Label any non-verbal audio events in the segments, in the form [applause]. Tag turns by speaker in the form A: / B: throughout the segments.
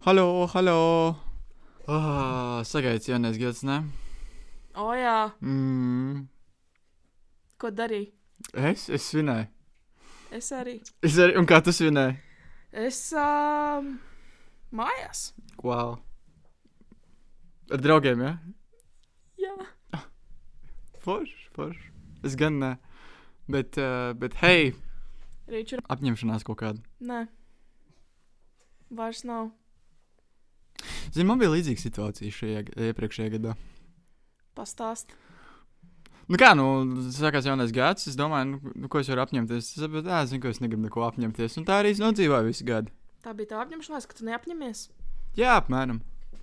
A: Halo, halo! Ah, Sagaids jaunais gads, ne?
B: O, jā,
A: Mm.
B: ko darīju?
A: Es? Es svinēju.
B: Es arī.
A: Es arī, un kā tu svinēji?
B: Es um, mājās.
A: Wow. Ar draugiem, jā?
B: Jā,
A: Forši, forši. Es gan ne. Bet, uh, bet hei,
B: rīčur.
A: apņemšanās kaut kāda.
B: Nē, vairs nav.
A: Zini, man bija līdzīga situācija šajā g- iepriekšējā gadā.
B: Pastāst.
A: Nu kā, nu, sākās jaunais gads, es domāju, nu, nu, ko es varu apņemties. Es saprotu, ah, zinu, ko es negribu neko apņemties. Un tā arī es nodzīvoju visu gadu.
B: Tā bija tā apņemšanās, ka tu neapņemies.
A: Jā, apmēram.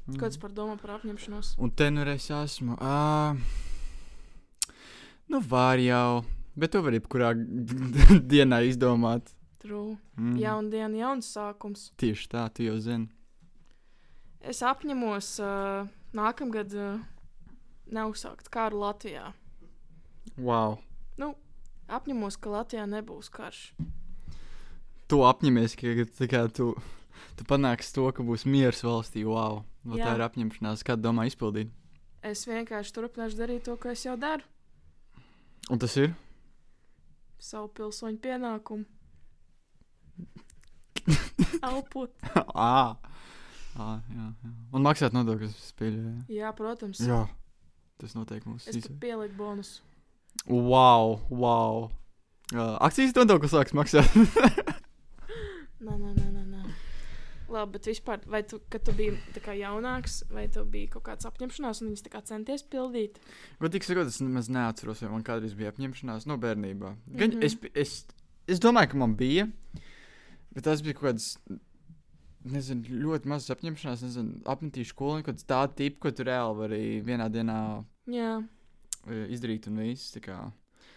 B: Mm. Kāds par domu par apņemšanos?
A: Un te nu reiz esmu. Uh, nu, var jau. Bet to var jebkurā [laughs] g- dienā izdomāt.
B: True.
A: Mm.
B: Mm. Jauna diena, jauns sākums.
A: Tieši tā, tu jau zini.
B: Es apņemos uh, nākamgad uh, neuzsākt kāru Latvijā.
A: Wow.
B: Apņemos, ka Latvijā nebūs karš.
A: Tu apņemies, ka tā kā, tu, tu panāksi to, ka būs miers valstī. Wow. No tā
B: Jā.
A: ir apņemšanās, kāda domā izpildīt.
B: Es vienkārši turpināšu darīt to, ko es jau daru.
A: Un tas ir?
B: Savu pilsoņu pienākumu. Elpot.
A: [laughs] Ā, Ā, jā, jā. Un maksāt nodokļus spēļu.
B: Jā, protams.
A: Jā. Tas noteikti mums
B: Es pat
A: visiem.
B: pieliku bonusu.
A: Wow, wow. Uh, akcijas nodoklis sāks maksāt. [laughs]
B: Nē, nē, nē, nē, nē. Labi, bet vispār, vai tu, kad tu biji tā kā jaunāks, vai tev bija kaut kāds apņemšanās, un viņas tā kā centies pildīt?
A: Godīgi sakot, es nemaz nu, neatceros, vai man kādreiz bija apņemšanās no bērnībā. Gan
B: Mhm.
A: mm -hmm. es, pi- es, es domāju, ka man bija, bet tas bija kaut kāds. Nezinu, ļoti mazas apņemšanās, nezinu, apmetīšu skolu, kaut kāda tāda tipa, ko tu reāli vari vienā dienā
B: Jā.
A: e, izdarīt un viss. tā kā,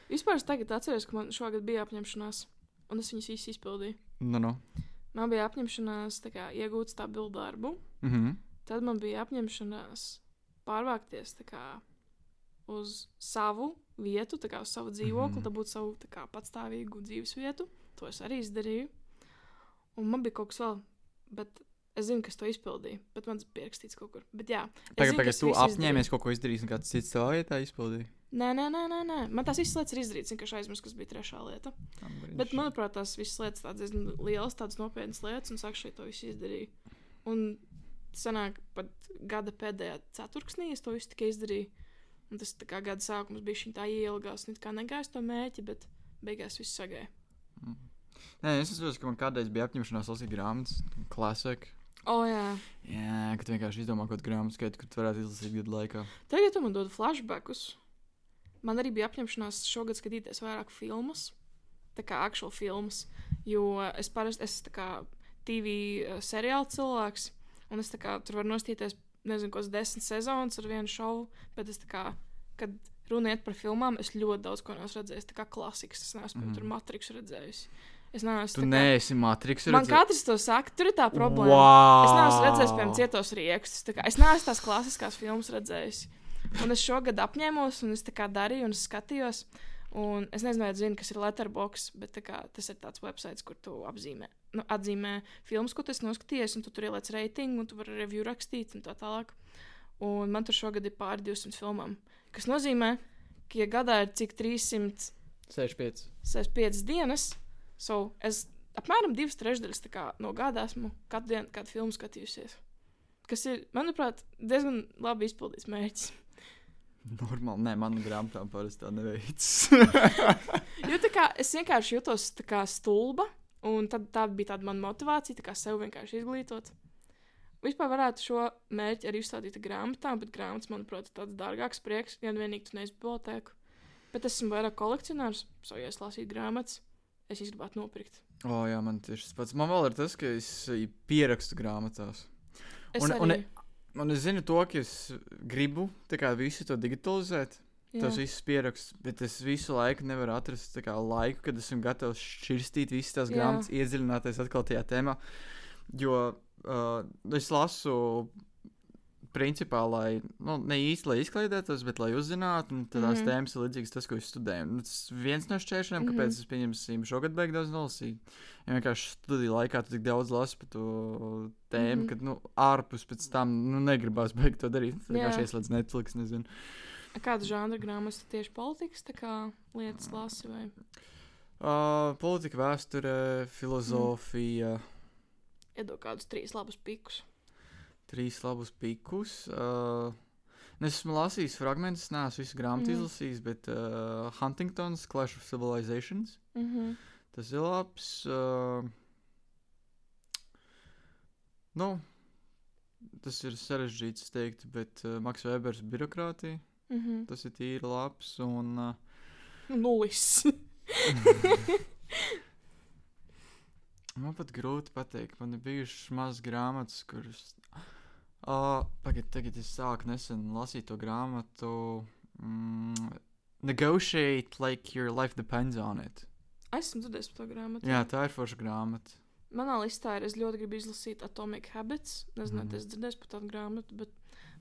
B: Vispār es tagad atceros, ka man šogad bija apņemšanās, un es viņas visas izpildīju.
A: Nu, nu.
B: Man bija apņemšanās tā kā, iegūt stabilu darbu,
A: Mhm.
B: tad man bija apņemšanās pārvākties tā kā, uz savu vietu, tā kā uz savu dzīvokli,
A: Mhm.
B: dabūt savu tā kā, patstāvīgu dzīves vietu. To es arī izdarīju. Un man bija kaut kas vēl, bet es zinu, kas to izpildīja. Bet man tas bija rakstīts kaut kur. Bet, jā, es
A: Tagad,
B: zinu,
A: tagad
B: kas
A: tu
B: visu
A: apņēmies
B: izdarīju.
A: kaut ko izdarīt, un kāds cits savā vietā izpildīja.
B: Nē, nē, nē, nē, nē. man tās visas lietas ir izdarīts. Es aizmirsu, kas bija trešā lieta. Bet, nu, manuprāt, tās visas lietas, tādas diezgan lielas, tādas nopietnas lietas, un saka, šeit to visu izdarīju. Un sanāk, pat gada pēdējā ceturksnī es to visu tikai izdarīju. Un tas tā kā gada sākums bija šī tā ielgās, un it kā negāja to mēķi, bet beigās viss sagāja.
A: Nē, es saprotu, ka man kādreiz bija apņemšanās lasīt grāmatas, klasika.
B: O, jā.
A: Jā, ka tu vienkārši izdomā kaut kādu grāmatu skaitu, kur tu varētu izlasīt gadu laikā.
B: Tagad tu man dod flashbackus. Man arī bija apņemšanās šogad skatīties vairāk filmas, tā kā aktuālu filmas. Jo es parasti esmu tā kā TV seriāla cilvēks, un es tā kā tur varu nostīties, nezinu, kādas desmit sezonas ar vienu šovu. Bet es tā kā, kad runiet par filmām, es ļoti daudz ko neesmu redzējis. Tā kā klasikas, es neesmu
A: Mhm.
B: mm. tur matriks redzējis. Es neesmu
A: Tu neesi matriks.
B: Man katrs to saka, tur ir tā problēma. Es neesmu redzējis, piemēram, cietos rīkstus. tā kā Es neesmu tās klasiskās filmas redzējis. Un es šogad apņēmos, un es tā kā darīju, un es skatījos. Un es nezinu, vai zinu, kas ir Letterbox, bet tā kā, tas ir tāds websites, kur tu apzīmē, nu, atzīmē filmas, ko tu esi noskatījies, un tu tur ieliec reitingu, un tu vari review rakstīt, un tā tālāk. Un man tur šogad ir pāri 200 filmām. Kas nozīmē, ka ja gadā ir cik 300
A: 65.
B: 65 dienas. So, es apmēram divas trešdaļas tā kā, no gada esmu katru dienu kādu filmu skatījusies. Kas ir, manuprāt, diezgan labi izpildīts mērķis.
A: Normāli, nē, man grāmatām parasti tā neveicis.
B: Jo tā kā es vienkārši jutos tā kā stulba, un tad, tā bija tāda mana motivācija, tā kā sev vienkārši izglītot. Vispār varētu šo mērķi arī uzstādīt ar grāmatām, bet grāmatas, manuprāt, ir tāds dārgāks prieks, ja nu vienīgi tu neesi bibliotēku. Bet es esmu vairāk kolekcionārs, so, ja es lasītu grāmatas, es viņas gribētu nopirkt.
A: o, oh, jā, man tieši tas pats. Man vēl ir tas, ka es eh, pierakstu grāmatās.
B: Es
A: Un-
B: arī,
A: un- Un es zinu to, ka es gribu tā kā visu to digitalizēt.
B: jā.
A: e- Tas viss pieraksts, bet es visu laiku nevaru atrast tā kā, laiku, kad esmu gatavs šķirstīt visas tās
B: Jā.
A: grāmatas, iedziļināties atkal tajā tēmā. Jo uh, es lasu principā, lai nu, ne īsti lai izklaidētos, bet lai uzzinātu, un tās mm
B: Mhm.
A: -hmm. tēmas ir līdzīgas tas, ko es studēju. Un Tas viens no šķēršļiem, mm
B: Mhm.
A: -hmm. kāpēc es pieņemsim šogad beig daudz nolasīju. Ja vienkārši studiju laikā tu tik daudz lasu par to tēmu, mm
B: Mhm.
A: -hmm. ka nu, ārpus pēc tam nu, negribas beigt to darīt.
B: Jā.
A: Tad vienkārši ieslēdz Netflix, nezinu.
B: Kādu žanru grāmatu tu tieši politikas tā kā, lietas lasi? Vai?
A: Uh, politika, vēsture, filozofija. Mm.
B: Iedod kādus trīs labus pikus.
A: trīs labus pikus. Uh, es esmu lasījis fragment, neesmu visu grāmatu
B: Mhm.
A: mm. izlasījis, bet uh, Huntington's Clash of Civilizations.
B: Mm -hmm.
A: Tas ir labs. Uh, nu, tas ir sarežģīts, es teiktu, bet uh, Maks Vēbers birokrātija.
B: Mm -hmm.
A: Tas ir tīri labs. Un, uh,
B: Nulis. [laughs]
A: Man pat grūti pateikt, man ir bijušas mazas grāmatas, kuras. Uh, tagad, tagad es sāku nesen lasīt to grāmatu. Mm, Negotiate like your life depends on it.
B: Esmu dzirdējis par to grāmatu.
A: Jā, tā ir forša grāmata.
B: Manā listā ir, es ļoti gribu izlasīt Atomic Habits. Nezinu, mm.
A: Mhm.
B: es dzirdēju par tādu grāmatu, bet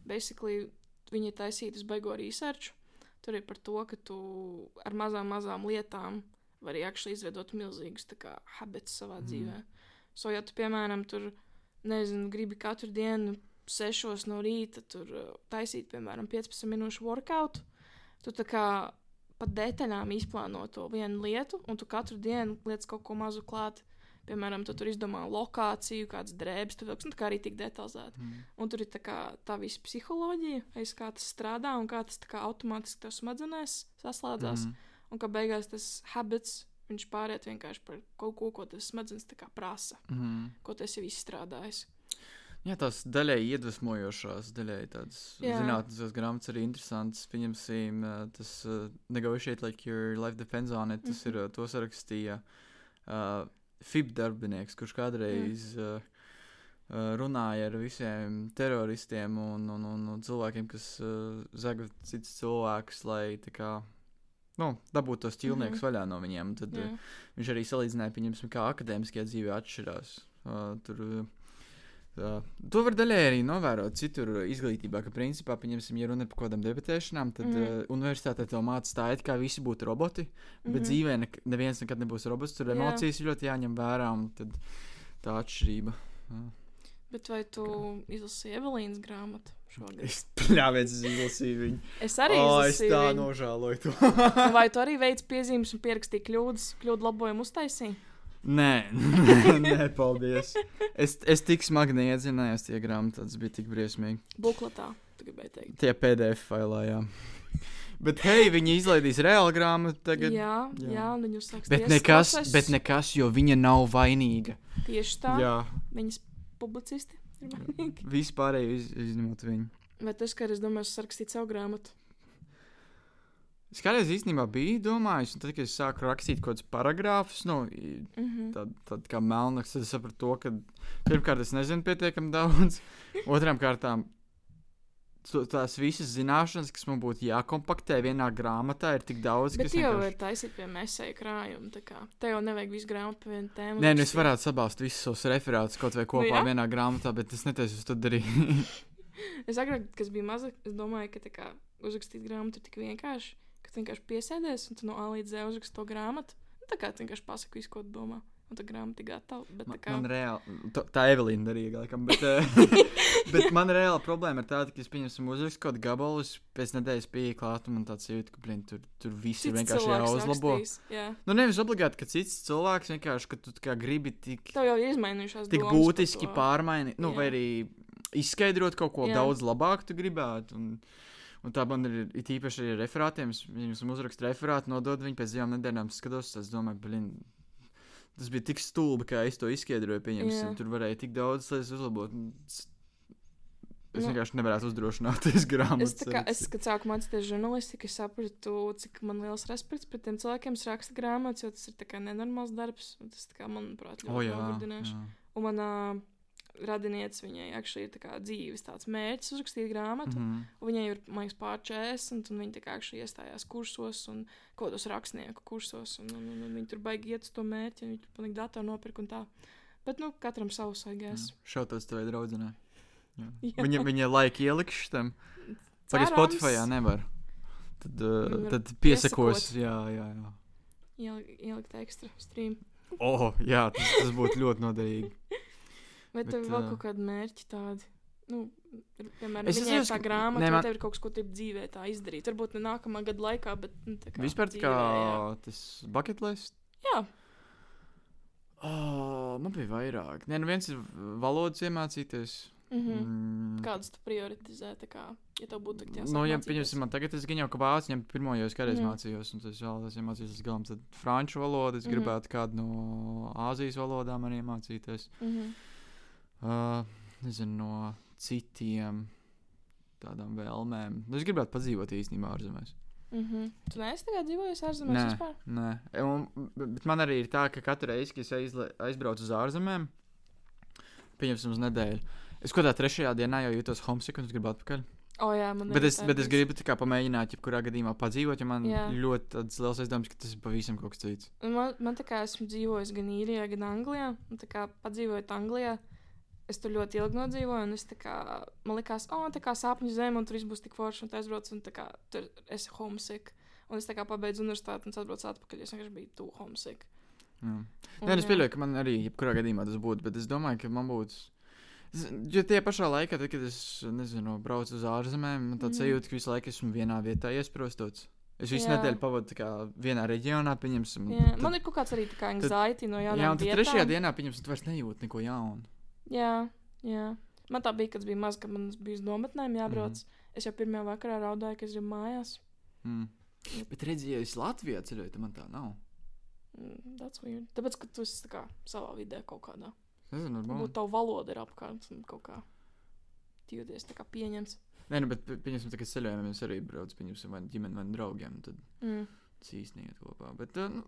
B: basically viņi ir taisīti uz beigo research. Tur ir par to, ka tu ar mazām, mazām lietām vari actually izveidot milzīgus tā kā, habits savā mm.
A: Mhm.
B: dzīvē. So, ja tu, piemēram, tur, nezinu, gribi katru dienu sešos no rīta tur uh, taisīt, piemēram, 15 minūšu workout, tu tā kā pat detaļām izplāno to vienu lietu, un tu katru dienu liec kaut ko mazu klāt. Piemēram, tu tur izdomā lokāciju, kādas drēbes, tu vilksi, nu, tā kā arī tik detalizēti.
A: Mm.
B: Un tur ir tā, kā, tā visa psiholoģija, aiz kā tas strādā un kā tas tā kā automātiski tev smadzenēs saslēdzās. Mm.
A: Mhm.
B: Un ka beigās tas habits, viņš pāriet vienkārši par kaut ko, ko tas smadzenes tā kā prasa,
A: Mm.
B: ko tu esi izstrādājis.
A: Jā, tās daļai iedvesmojošās, daļai tādas
B: Jā.
A: zinātniskas grāmatas arī interesantas. Pieņemsim, uh, tas uh, Negotiate like your life depends on it. Tas
B: Mhm.
A: ir uh, to sarakstīja uh, FIB darbinieks, kurš kādreiz uh, uh, runāja ar visiem teroristiem un, un, un, un cilvēkiem, kas uh, zaga citus cilvēkus, lai tā kā. Nu, dabūt tos
B: Mhm.
A: ķīlniekus mm -hmm. vaļā no viņiem. Tad, uh,
B: Jā.
A: Viņš arī salīdzināja, pieņemsim, kā akadēmiskajā dzīvē atšķirās. Uh, tur, uh, to var daļai arī novērot citur izglītībā, ka, principā, pieņemsim, ja runa ir par kaut kādām debatēšanām, tad mm.
B: Mhm.
A: uh, universitātē to mācās tā, it kā visi būtu roboti, bet mm -hmm. dzīvē nek neviens nekad nebūs robots. Tur
B: Jā.
A: emocijas ir ļoti jāņem vērā un tad tā atšķirība. [laughs]
B: Bet vai tu izlasīji Evelīnas grāmatu šogad?
A: Es pļāvies izlasīju viņu.
B: Es arī
A: Ā, es
B: izlasīju.
A: tā
B: viņu.
A: nožēloju to.
B: [laughs] Vai tu arī veici piezīmes un pierakstīji kļūdas, kļūdu labojumu uztaisīji?
A: Nē, [laughs] nē, nē, paldies. Es, es tik smagi neiedzinājos tie grāmatā, tas bija tik briesmīgi.
B: Bukletā, tu gribēji teikt.
A: Tie PDF failā, jā. Bet, hei, viņi izlaidīs reāli grāmatu tagad.
B: jā, jā.
A: jā.
B: jā viņu saka,
A: bet, nekas, bet nekas, jo viņa nav vainīga.
B: Tieši tā, jā.
A: Jā,
B: viņas publicisti ir
A: [laughs]
B: vainīgi.
A: vispārēji iz, izņemot viņu.
B: Vai tas, ka es domāju, sarakstīt savu grāmatu?
A: Es kādreiz īstenībā biju domājis, un tad, kad es sāku rakstīt kaut kādus paragrāfus, nu, i-
B: Mhm.
A: tad, tad kā melnāks, tad es sapratu to, ka pirmkārt es nezinu pietiekami daudz, [laughs] otrām kārtām. to- Tās visas zināšanas, kas man būtu jākompaktē vienā grāmatā, ir tik daudz,
B: Bet
A: kas
B: tu jau
A: vienkārši-
B: ir taisīt pie mēsēja krājuma, tā kā tev jau nevajag visu grāmatu par vienu tēmu.
A: Nē, nu es
B: rakstīt.
A: varētu sabāzt visus savus referātus kaut vai kopā
B: jā.
A: nu, vienā grāmatā, bet es neteicu, to darīju.
B: Es agrāk, kad biju maza, es domāju, ka tā kā, uzrakstīt grāmatu ir tik vienkārši, ka tu vienkārši piesēdies un tu no A līdz Z uzrakst to grāmatu. Nu, tā kā tu vienkārši pasaki visu, ko tu domā. Un tā grāmata ir gatava. Bet, tā
A: man,
B: kā,
A: man reāli, to, tā Evelīna darīja, laikam,
B: [laughs]
A: bet, eh, bet man reāla problēma ir tāda, ka es pieņemsim uzrakstu kaut gabalus, pēc nedēļas pieeja klāt, un man tāds jūt, ka, blin, tur, tur viss ir
B: cits
A: vienkārši
B: cilvēks
A: jāuzlabo.
B: rakstīs, Jā.
A: Nu, nevis obligāti, ka cits cilvēks vienkārši, ka tu tā kā gribi tik,
B: Tev jau ir izmainījušās
A: tik
B: domas par
A: būtiski
B: to.
A: pārmainīt, nu,
B: Jā.
A: vai arī izskaidrot kaut ko
B: Jā.
A: daudz labāk, tu gribētu. Un, Un tā man ir it īpaši arī ar referātiem. Es viņus uzrakstu referātu, nododu viņu pēc divām nedēļām. Skatos, tas domāju, blin, tas bija tik stulbi, kā es to izskaidroju. Pieņemsim,
B: Jā.
A: tur varēja tik daudz lietas uzlabot. un s- Es
B: Nu.
A: vienkārši nevarētu uzdrošināties [laughs]
B: Es,
A: grāmatā.
B: tā kā, es kad sākumā mācīties žurnālistiku, es sapratu, cik man liels respekts pret tiem cilvēkiem, kas raksta grāmatas, jo tas ir tā kā nenormāls darbs. un Tas, tā kā, manuprāt,
A: oh,
B: ļoti
A: jā,
B: nogurdinoši.
A: jā.
B: Un manā radiniece, viņai actually ir tā kā dzīves tāds mērķis uzrakstīt grāmatu. Mm.
A: Mhm.
B: Viņai ir, man liekas, pār 40, un viņa tā kā actually iestājās kursos un kaut kādos rakstnieku kursos. Un, un, un, un viņi tur baigi iet uz to mērķi, un viņi tur pilnīgi datoru nopirka un tā. Bet, nu, katram savs, I guess.
A: Šautos tev draudzenē.
B: Jā.
A: Viņa, viņa laika ielikšu tam. Pagaidām,
B: Cerams.
A: Spotify nevar. Tad, uh,
B: Nevar
A: tad piesakos.
B: piesakot.
A: Jā, jā, jā.
B: Iel- Ielikt ekstra stream.
A: Oh, jā tas, tas būtu ļoti
B: [laughs]
A: noderīgi.
B: Vai
A: Bet,
B: tev ir vēl
A: ā,
B: kaut kādi mērķi tādi? Nu, ir, piemēram,
A: Es
B: es esmu
A: atceros,
B: tā
A: ka-
B: grāmata,
A: nē,
B: vai
A: man-
B: tev ir kaut kas, ko tu gribi dzīvē tā izdarīt. Varbūt ne nākamā gada laikā, bet nu, tā kā
A: Vispār tā
B: dzīvē,
A: kā
B: jā.
A: tas bucket list.
B: Jā.
A: Oh, man bija vairāk. Nē, nu viens ir valodas iemācīties.
B: Mhm.
A: Mm.
B: Kādus tu prioritizē? tā Kā, ja tev būtu tā,
A: Nu, ja pieņemsim, man tagad es gan jau kā vācu, jau pirmo jau es kādreiz
B: Mhm.
A: mm. mācījos, un tas vēl es iemācījos līdz galam. Tad franču valodu es
B: Mhm.
A: gribētu kādu no Āzijas valodām arī mācīties.
B: Mhm.
A: Uh, nezinu, no citiem tādām vēlmēm. Nu, es gribētu padzīvot īstenībā ārzemēs.
B: Mhm. Tu neesi tagad dzīvojis ārzemēs
A: Nē,
B: vispār?
A: nē. E, Un, bet man arī ir tā, ka katru reizi, kad es aizle- aizbraucu uz ārzemēm, pieņemsim, uz nedēļu. Es kaut kādā trešajā dienā jau jūtos homesick un es gribu atpakaļ.
B: O, jā, man
A: Bet
B: arī
A: es,
B: Nu, tā ir
A: bet es
B: bijis.
A: gribu tā kā pamēģināt, jebkurā gadījumā padzīvot, jo man
B: Jā.
A: Jā. ļoti tāds liels aizdoms, ka tas ir pavisam kaut kas cits.
B: Un Man, man tā kā esmu dzīvojis gan īrijā, gan Anglijā. Un tā kā padzīvojot Anglijā, es tur ļoti ilgi nodzīvoju. Un es tā kā, man likās, o, tā kā sāpņu zeme, un tur viss būs tik forši, un tā aizbraucu, un tā kā tur es esmu homesick. Un es tā kā pabeidzu universitāti un atbraucu atpakaļ, jo es vienkārši biju tu homesick.
A: Jā.
B: Un,
A: Nē, nu, es
B: jā.
A: pieļauju, ka man arī, jebkurā gadījumā tas būtu, bet es domāju, ka man būtu. Z- Jo tie pašā laikā, tad, kad es nezinu, braucu uz ārzemēm, man tāds
B: Mhm.
A: mm. jūtas, ka visu laiku esmu vienā vietā iesprostots. Es visu
B: Jā.
A: nedēļu pavadu tā kā vienā reģionā, pieņemsim. un
B: Jā,
A: tad-
B: man ir kaut kāds arī tā kā anxiety no jaunām
A: jā, un tad
B: vietām.
A: trešajā dienā, pieņemsim, tu vairs nejūti neko jaunu.
B: Jā, jā. Man tā bija, kad es biju maz, kad man bija uz nometnēm
A: Mhm.
B: jābrauc. Mm. Es jau pirmajā vakarā raudāju, ka es gribu mājās.
A: Mm. Bet redziet, ja es Latvijā ceļoju, tad man tā nav.
B: Mm, That's weird. Tāpēc, ka tu esi tā kā savā vidē kaut kādā.
A: Es Nezinu,
B: Varbūt
A: varbūt.
B: tā valoda ir apkārt un kaut kā tu jūties tā kā pieņemts.
A: Nē, nu, bet pie- pieņemsim, tā, ka ceļojumā mēs arī braucam, pieņemsim, vai nu ģimeni, vai nu draugiem. Tad
B: Mm.
A: tas īsti neiet kopā. Bet, uh, nu,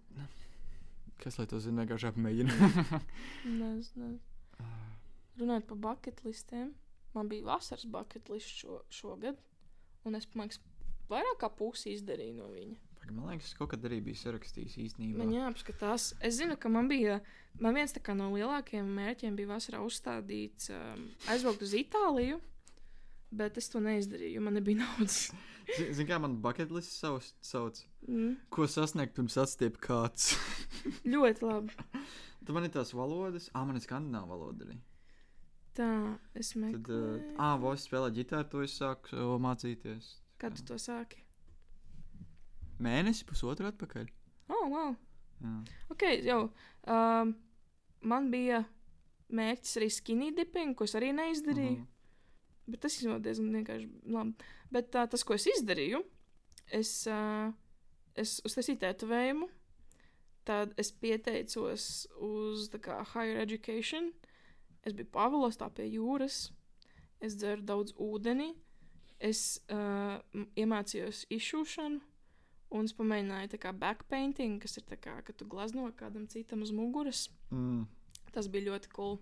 A: kas lai to zina, vienkārši apmēģina.
B: Nezinu.
A: Ah.
B: Runājot par buļbuļsaktiem, man bija vasaras buļbuļsaktas šo, šogad, un es domāju, ka vairāk kā pusi izdarīju no viņa.
A: Pagaid, Man liekas, kaut kad arī bija sarakstījis īstenībā.
B: Man jāapskatās. Es zinu, ka man bija man viens tā kā no lielākajiem mērķiem, bija vasarā uzstādīts um, aizbraukt uz Itāliju, bet es to neizdarīju, jo man nebija [laughs] naudas.
A: Zini, zin, kā man buļbuļsaktas savs sauc?
B: Mm.
A: Ko sasniegt pirms atstiep kāds? [laughs]
B: Ļoti labi.
A: Tad man ir tās valodas, ah, man ir skandināva valoda arī.
B: Tā, es
A: Tad, uh,
B: meklēju.
A: ah, vos spēlē ģitāru, to es sāku uh, mācīties.
B: Kad tu to sāki?
A: Mēnesi, pusotru atpakaļ.
B: Oh, wow.
A: Jā.
B: Ok, jau. Um, man bija mērķis arī skinny dipping, ko es arī neizdarīju. Mm
A: Mhm.
B: -hmm. Bet tas izņemot diezgan vienkārši labi. Bet uh, tas, ko es izdarīju, es, uh, es uztaisīju tetovējumu. Tad es pieteicos uz tā kā, higher education. Es biju Pāvilos, tā pie jūras. Es dzeru daudz ūdeni. Es uh, m- iemācījos izšūšanu. Un es pamēģināju tā kā backpainting, kas ir tā kā, ka tu glazno kādam citam uz muguras.
A: Mm.
B: Tas bija ļoti cool.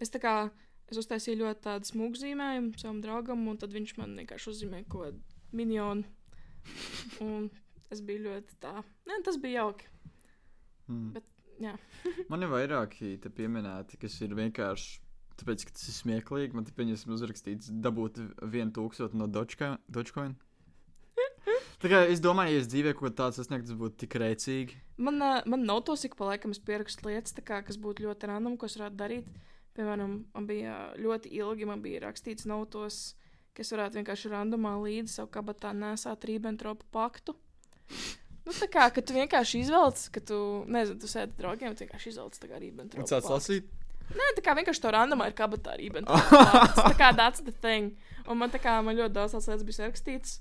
B: Es tā kā es uztaisīju ļoti tādu smugu zīmējumu savam draugam, un tad viņš man vienkārši uzzīmēja kaut kādu minionu. Un es biju ļoti tā. Nē, tas bija jauki.
A: Mm.
B: Bet, jā. [laughs]
A: man ir vairāki te pieminēti, kas ir vienkārši. Tāpēc, ka tas ir smieklīgi, man te pieņemsim uzrakstīts, dabūt vienu tūkstošu no Dogecoin.
B: [laughs]
A: Dogecoin. Tā kā es domāju, ja es dzīvē kaut ko tādu sasniegtu, tas būtu tik rēcīgi.
B: Man, ā, man nav tos ik pa laikam, es pierakstu lietas, tā kā, kas būtu ļoti random, ko es varētu darīt. Piemēram, man bija ļoti ilgi, man bija rakstīts notos, ka es varētu vienkārši randomā līdzi savu kabatā nesāt rībentropu paktu. Nu, tā kā, ka tu vienkārši izvelc, ka tu, nezinu, tu sēdi ar draugiem, tu vienkārši izvelc tā kā rībentropu
A: Kāds
B: paktu.
A: lasīt?
B: Nē, tā kā vienkārši to randomā ir kabatā rībentropu pakts. Tā kā that's the thing. Un man tā kā, man ļoti daudz tās lietas bija sarakstīts.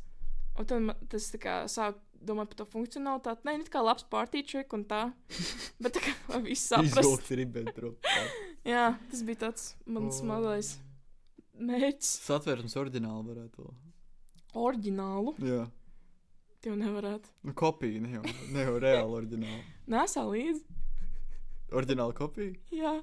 B: Un tad man- tas tā kā sāk domāt par to funkcionalitāti. Nē, it kā labs party trick un tā. Bet tā kā viss saprast.
A: Ribbentrop.
B: Jā, tas bija tāds mans
A: O.
B: mazais mērķis.
A: [laughs] Satversmes ordināli varētu to.
B: Orģinālu
A: Jā,
B: tev nevarētu.
A: nu kopija, ne jau, ne jau reāli ordināli.
B: Nesā līdzi.
A: Ordināla kopija? [laughs]
B: Jā.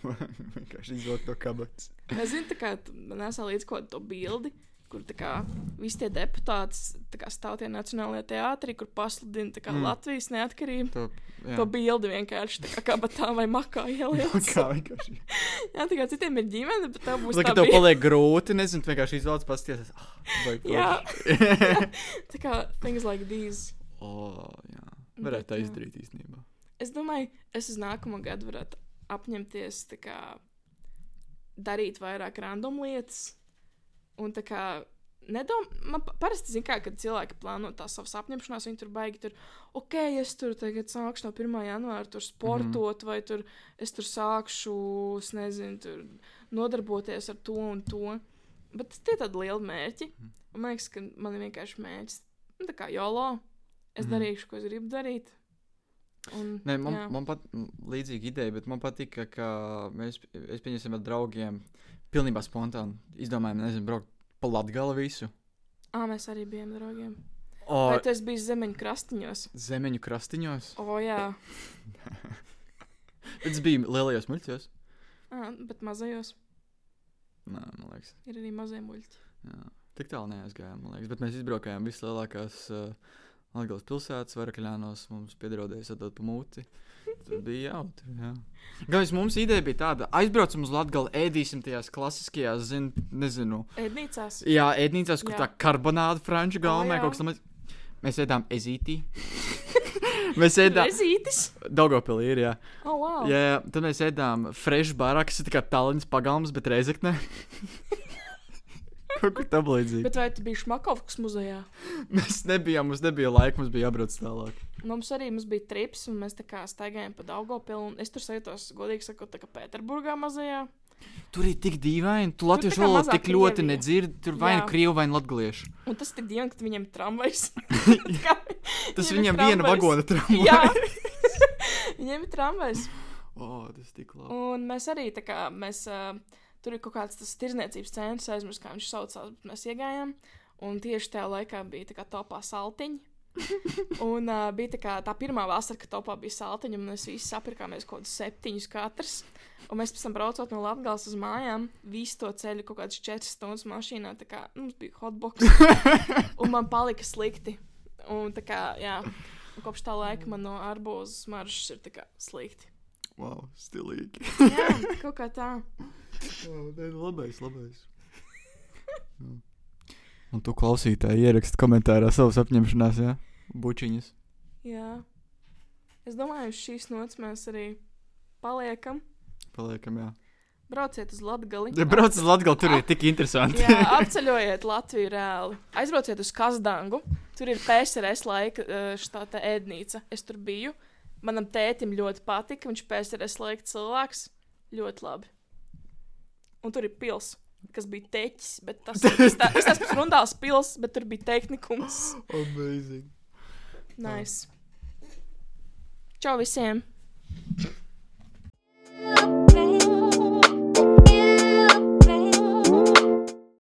A: Vienkārši izvilkt to kabatas.
B: Es zinu, tā kā tu- man nesā līdzi kaut ko to bildi. kur tā kā visi tie deputāti tā kā, stāv tie nacionālajā teātrī, kur pasludina tā kā,
A: Mm.
B: mm. Latvijas neatkarību.
A: To, jā.
B: To bildi vienkārši tā kā kabatā vai makā ieliec.
A: [laughs] Kā vienkārši.
B: [laughs] Jā, tā kā citiem ir ģimene, bet tev būs
A: Lai,
B: tā
A: Nu, ka tev
B: bilde.
A: paliek grūti, nezinu, tu vienkārši izvēlēties pasties. Ah, vai
B: Jā. [laughs]
A: forši.
B: Tā kā things like these.
A: o, jā. Varētu tā
B: Bet, jā.
A: izdarīt īstenībā.
B: Es domāju, es uz nākamo gadu varētu apņemties tā kā, darīt vairāk random lietas. Un tā kā nedom... man pa- parasti zina, kā, kad cilvēki plāno tās savas apņemšanās, viņi tur baigi tur, ok, es tur tagad sākšu no 1. janvāra tur sportot, mm -hmm. vai tur es tur sākšu, es nezinu, tur nodarboties ar to un to. Bet tie ir tādi lieli mērķi.
A: Mhm.
B: Un man liekas, ka man ir vienkārši mērķis. Nu, tā kā jolo, es
A: Mhm.
B: mm -hmm. darīšu, ko es gribu darīt. Un,
A: Nē, man,
B: jā.
A: man pat m, līdzīga ideja, bet man patika, ka mēs, es pieņemsim ar draugiem, pilnībā spontāni izdomājām, nezinu, braukt pa latgala visu.
B: Ā, mēs arī bijām draugiem.
A: O,
B: Vai tas bija zemeņu krastiņos?
A: zemeņu krastiņos. [laughs]
B: O, jā,
A: Tas bija lielajos muļķos.
B: Ā, bet mazajos
A: Nē, man liekas.
B: ir arī mazie muļķi.
A: Jā. Tik tālu neaizgājām, man liekas. Bet mēs izbraukājām vislielākās uh, Latvijas pilsētas, Varakļānos. Mums piedarbojas atdot pamūti. Tas bija jautri. Jā. Gājus mums ideja bija tāda, aizbraucam uz Latviju, ēdīsim tajās klasiskajās, zin, nezinu,
B: Ēdnīcās.
A: jā, ēdnīcās, kur
B: Jā.
A: jā. tā karbonāda franču galvenā
B: jā.
A: kaut kas tāds. Mēs ēdām ezītī. [laughs] mēs ēdām
B: Rezītis?
A: Dogopilī, ir, jā.
B: O, oh, wow.
A: Jā, jā, tad mēs ēdām fresh barā, kas ir tā kā Tallinas pagalms, bet
B: [laughs]
A: reizekne. Kaut kur tam līdzīgi.
B: Bet vai tu biji Šmakovkas muzejā?
A: Mēs nebijām, mums nebija laika, mums bija jābrauc tālāk.
B: Mums arī mums bija trips, un mēs tā kā staigājām pa Daugopilu, un es tur sajūtos, godīgi sakot, tā kā Pēterburgā mazajā.
A: Tur ir tik dīvaini, tu
B: tā
A: latviešu
B: kā
A: valodu
B: mazā
A: tik ļoti
B: Krievija.
A: nedzirdi. Tur vai nu
B: Jā.
A: krievu, vai nu
B: [laughs]
A: latviešu.
B: Un tas tik dien, ka viņiem
A: [laughs]
B: tramvajs. [laughs] Viņiem ir
A: Tas viņam viena
B: tramvajs. [laughs]
A: vagona tramvajs.
B: jā.
A: [laughs]
B: viņiem ir tramvajs.
A: O, tas tik labi.
B: Un mēs arī tā kā mēs, ā, tur ir kaut kāds tas tirzniecības centrs, aizmirsu, kā viņš saucās, bet mēs iegājām. Un tieši tajā laikā bija tā kā topā [laughs] saltiņi. un uh, bija tā, kā, tā pirmā vasara, kad topā bija saltiņa, un mēs visi sapirkāmies kaut kādus septiņus katrs. Un mēs pēc tam braucot no Latvijas uz mājām, visu to ceļu kaut kādas četras stundas mašīnā, tā kā mums bija hotbox. [laughs] un man palika slikti. Un tā kā, jā, un kopš tā laika man no arbūzas maržas ir tā kā slikti.
A: Wow, stilīgi.
B: [laughs] Jā, kaut kā tā.
A: O, nē, nu labais,
B: [laughs]
A: labais. Nu. Un tu klausītāji ieraksti komentārā savas apņemšanās, jā? Bučiņas.
B: Jā. Es domāju, uz šīs nots mēs arī paliekam.
A: Paliekam, jā.
B: Brauciet uz Latviju.
A: Ja brauc uz Latgali, tur ir tik interesanti.
B: Jā,
A: [laughs]
B: apceļojiet Latviju reāli. Aizbrauciet uz Kazdangu. Tur ir PSRS laika eh, štāta ēdnīca. Es tur biju. Manam tētim ļoti patika. Viņš ir PSRS laika cilvēks. Ļoti labi. Un tur ir pils, kas bija teķis. Bet
A: [laughs]
B: tas ir tas pats rundāls pils, bet tur bija tehnikums.
A: Amazing.
B: Nice. Čau visiem!